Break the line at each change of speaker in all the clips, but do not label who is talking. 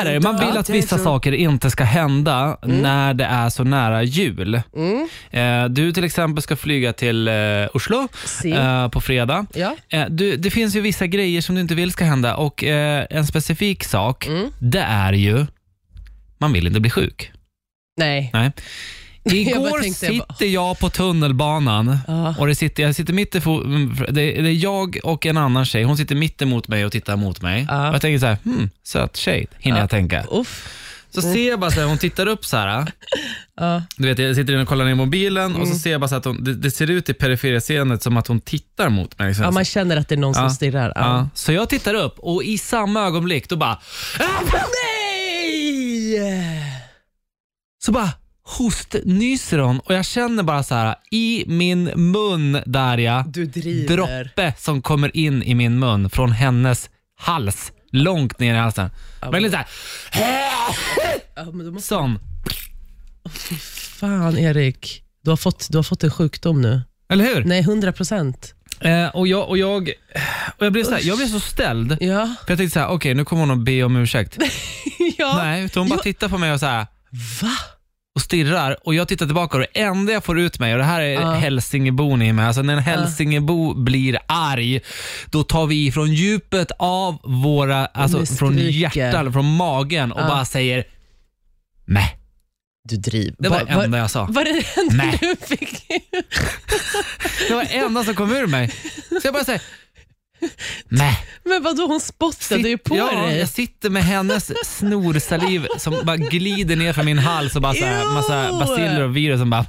är det. Man vill att vissa saker inte ska hända
Mm.
när det är så nära jul. Eh, Du till exempel ska flyga till eh, Oslo
Si.
eh, på fredag.
Ja.
Eh, Du, det finns ju vissa grejer som du inte vill ska hända och eh, en specifik sak,
Mm.
det är ju, man vill inte bli sjuk.
Nej.
Nej.
Jag
Igår
bara tänkte, jag bara- Ah.
sitter jag på tunnelbanan
Ja.
och det sitter, jag sitter mitt i fo- mm, det, är- det är jag och en annan tjej, hon sitter mitt emot mig och tittar mot mig.
Ja.
Och jag tänker så här, hmm, söt tjej, hinner
Ja.
jag tänka.
Uff.
Så ser jag bara så här, hon tittar upp så här.
Ja. Mm.
Du vet, jag sitter inne och kollar ner mobilen och så ser jag bara så här att hon, det, det ser ut i perifera scenet som att hon tittar mot mig.
ja, man känner att det är någon
Ja.
som stirrar. Ja.
Ja, Så jag tittar upp och i samma ögonblick då bara,
Nej!
så bara hostnyser hon och jag känner bara så här i min mun Darja,
Du driver.
droppe som kommer in i min mun från hennes hals, långt ner i halsen. Verkligen så här,
Ja, men då måste...
sån.
Fan, Erik. Du har, fått, du har fått en sjukdom nu.
Eller hur?
Nej, 100 procent.
Eh, och jag, och jag, och jag, blev så här, jag blev så ställd.
Ja.
För jag tänkte så här, okej nu kommer hon att be om ursäkt.
ja.
Nej, utan hon bara
Jo.
tittar på mig och så här
Va?
och stirrar och jag tittar tillbaka och det enda jag får ut mig, och det här är
Ja.
hälsingebon i mig, alltså när en hälsingebo blir arg, då tar vi från djupet av våra, alltså
ni
från
skriker.
hjärtat, från magen och
Ja.
bara säger Mäh.
Du driver.
Det var det
Va- va-
enda jag sa.
Var det det enda
Nej.
du fick?
Det var det enda som kom ur mig. Så jag bara säger Mäh.
Men vadå, hon spottade ju på
ja,
dig.
jag sitter med hennes snorsaliv som bara glider ner från min hals och bara så här,
Jo!
massa baciller och virus som bara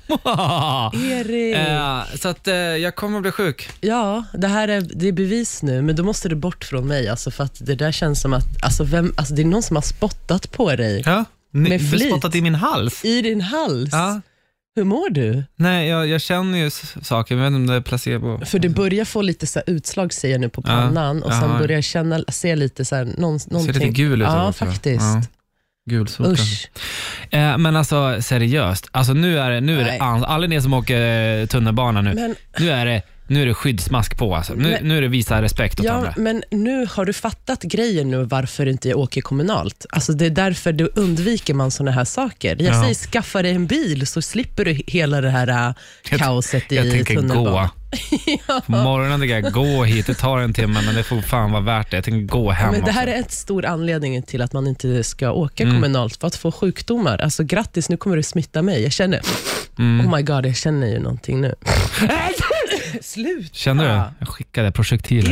Erik.
Eh, Så att eh, jag kommer att bli sjuk.
Ja, det här är, det är bevis nu, men då måste det bort från mig. Alltså, för att det där känns som att alltså, vem, alltså, det är någon som har spottat på dig
Ja. Ni,
Med
du
flit.
spottat i min hals.
i din hals.
Ja.
Hur mår du?
Nej, jag, jag känner ju s- saker, men jag vet inte om det är placebo.
För det börjar få lite så här utslag ser jag nu på
Ja.
pannan och sen
Ja.
börjar jag känna, se lite så här, någon,
Ser
någonting.
lite gul ut.
Ja,
också.
faktiskt.
Ja. Gulsot kanske.
Usch.
eh, Men alltså seriöst, alltså, nu är det, nu är det
Nej.
ans- alla ni som åker eh, tunnelbana nu,
Men,
nu är det nu är det skyddsmask på. Alltså. Nu,
Men-
nu är det visa respekt åt
ja,
andra.
men nu har du fattat grejen nu varför inte jag åker kommunalt. Alltså, det är därför du undviker man såna här saker. Jag
Ja.
säger skaffa dig en bil så slipper du hela det här äh, kaoset i
Jag tänker
tunnelbanan.
gå. På morgonen tänker jag gå hit, det tar en timme men det får fan vara värt det. Jag tänker gå hem
Men det här
också. Mm.
är en stor anledning till att man inte ska åka kommunalt, för att få sjukdomar. Alltså grattis, nu kommer du smitta mig. Jag känner,
Mm.
oh my god, jag känner ju någonting nu. Slut!
Känner du? Jag skickade projektiler.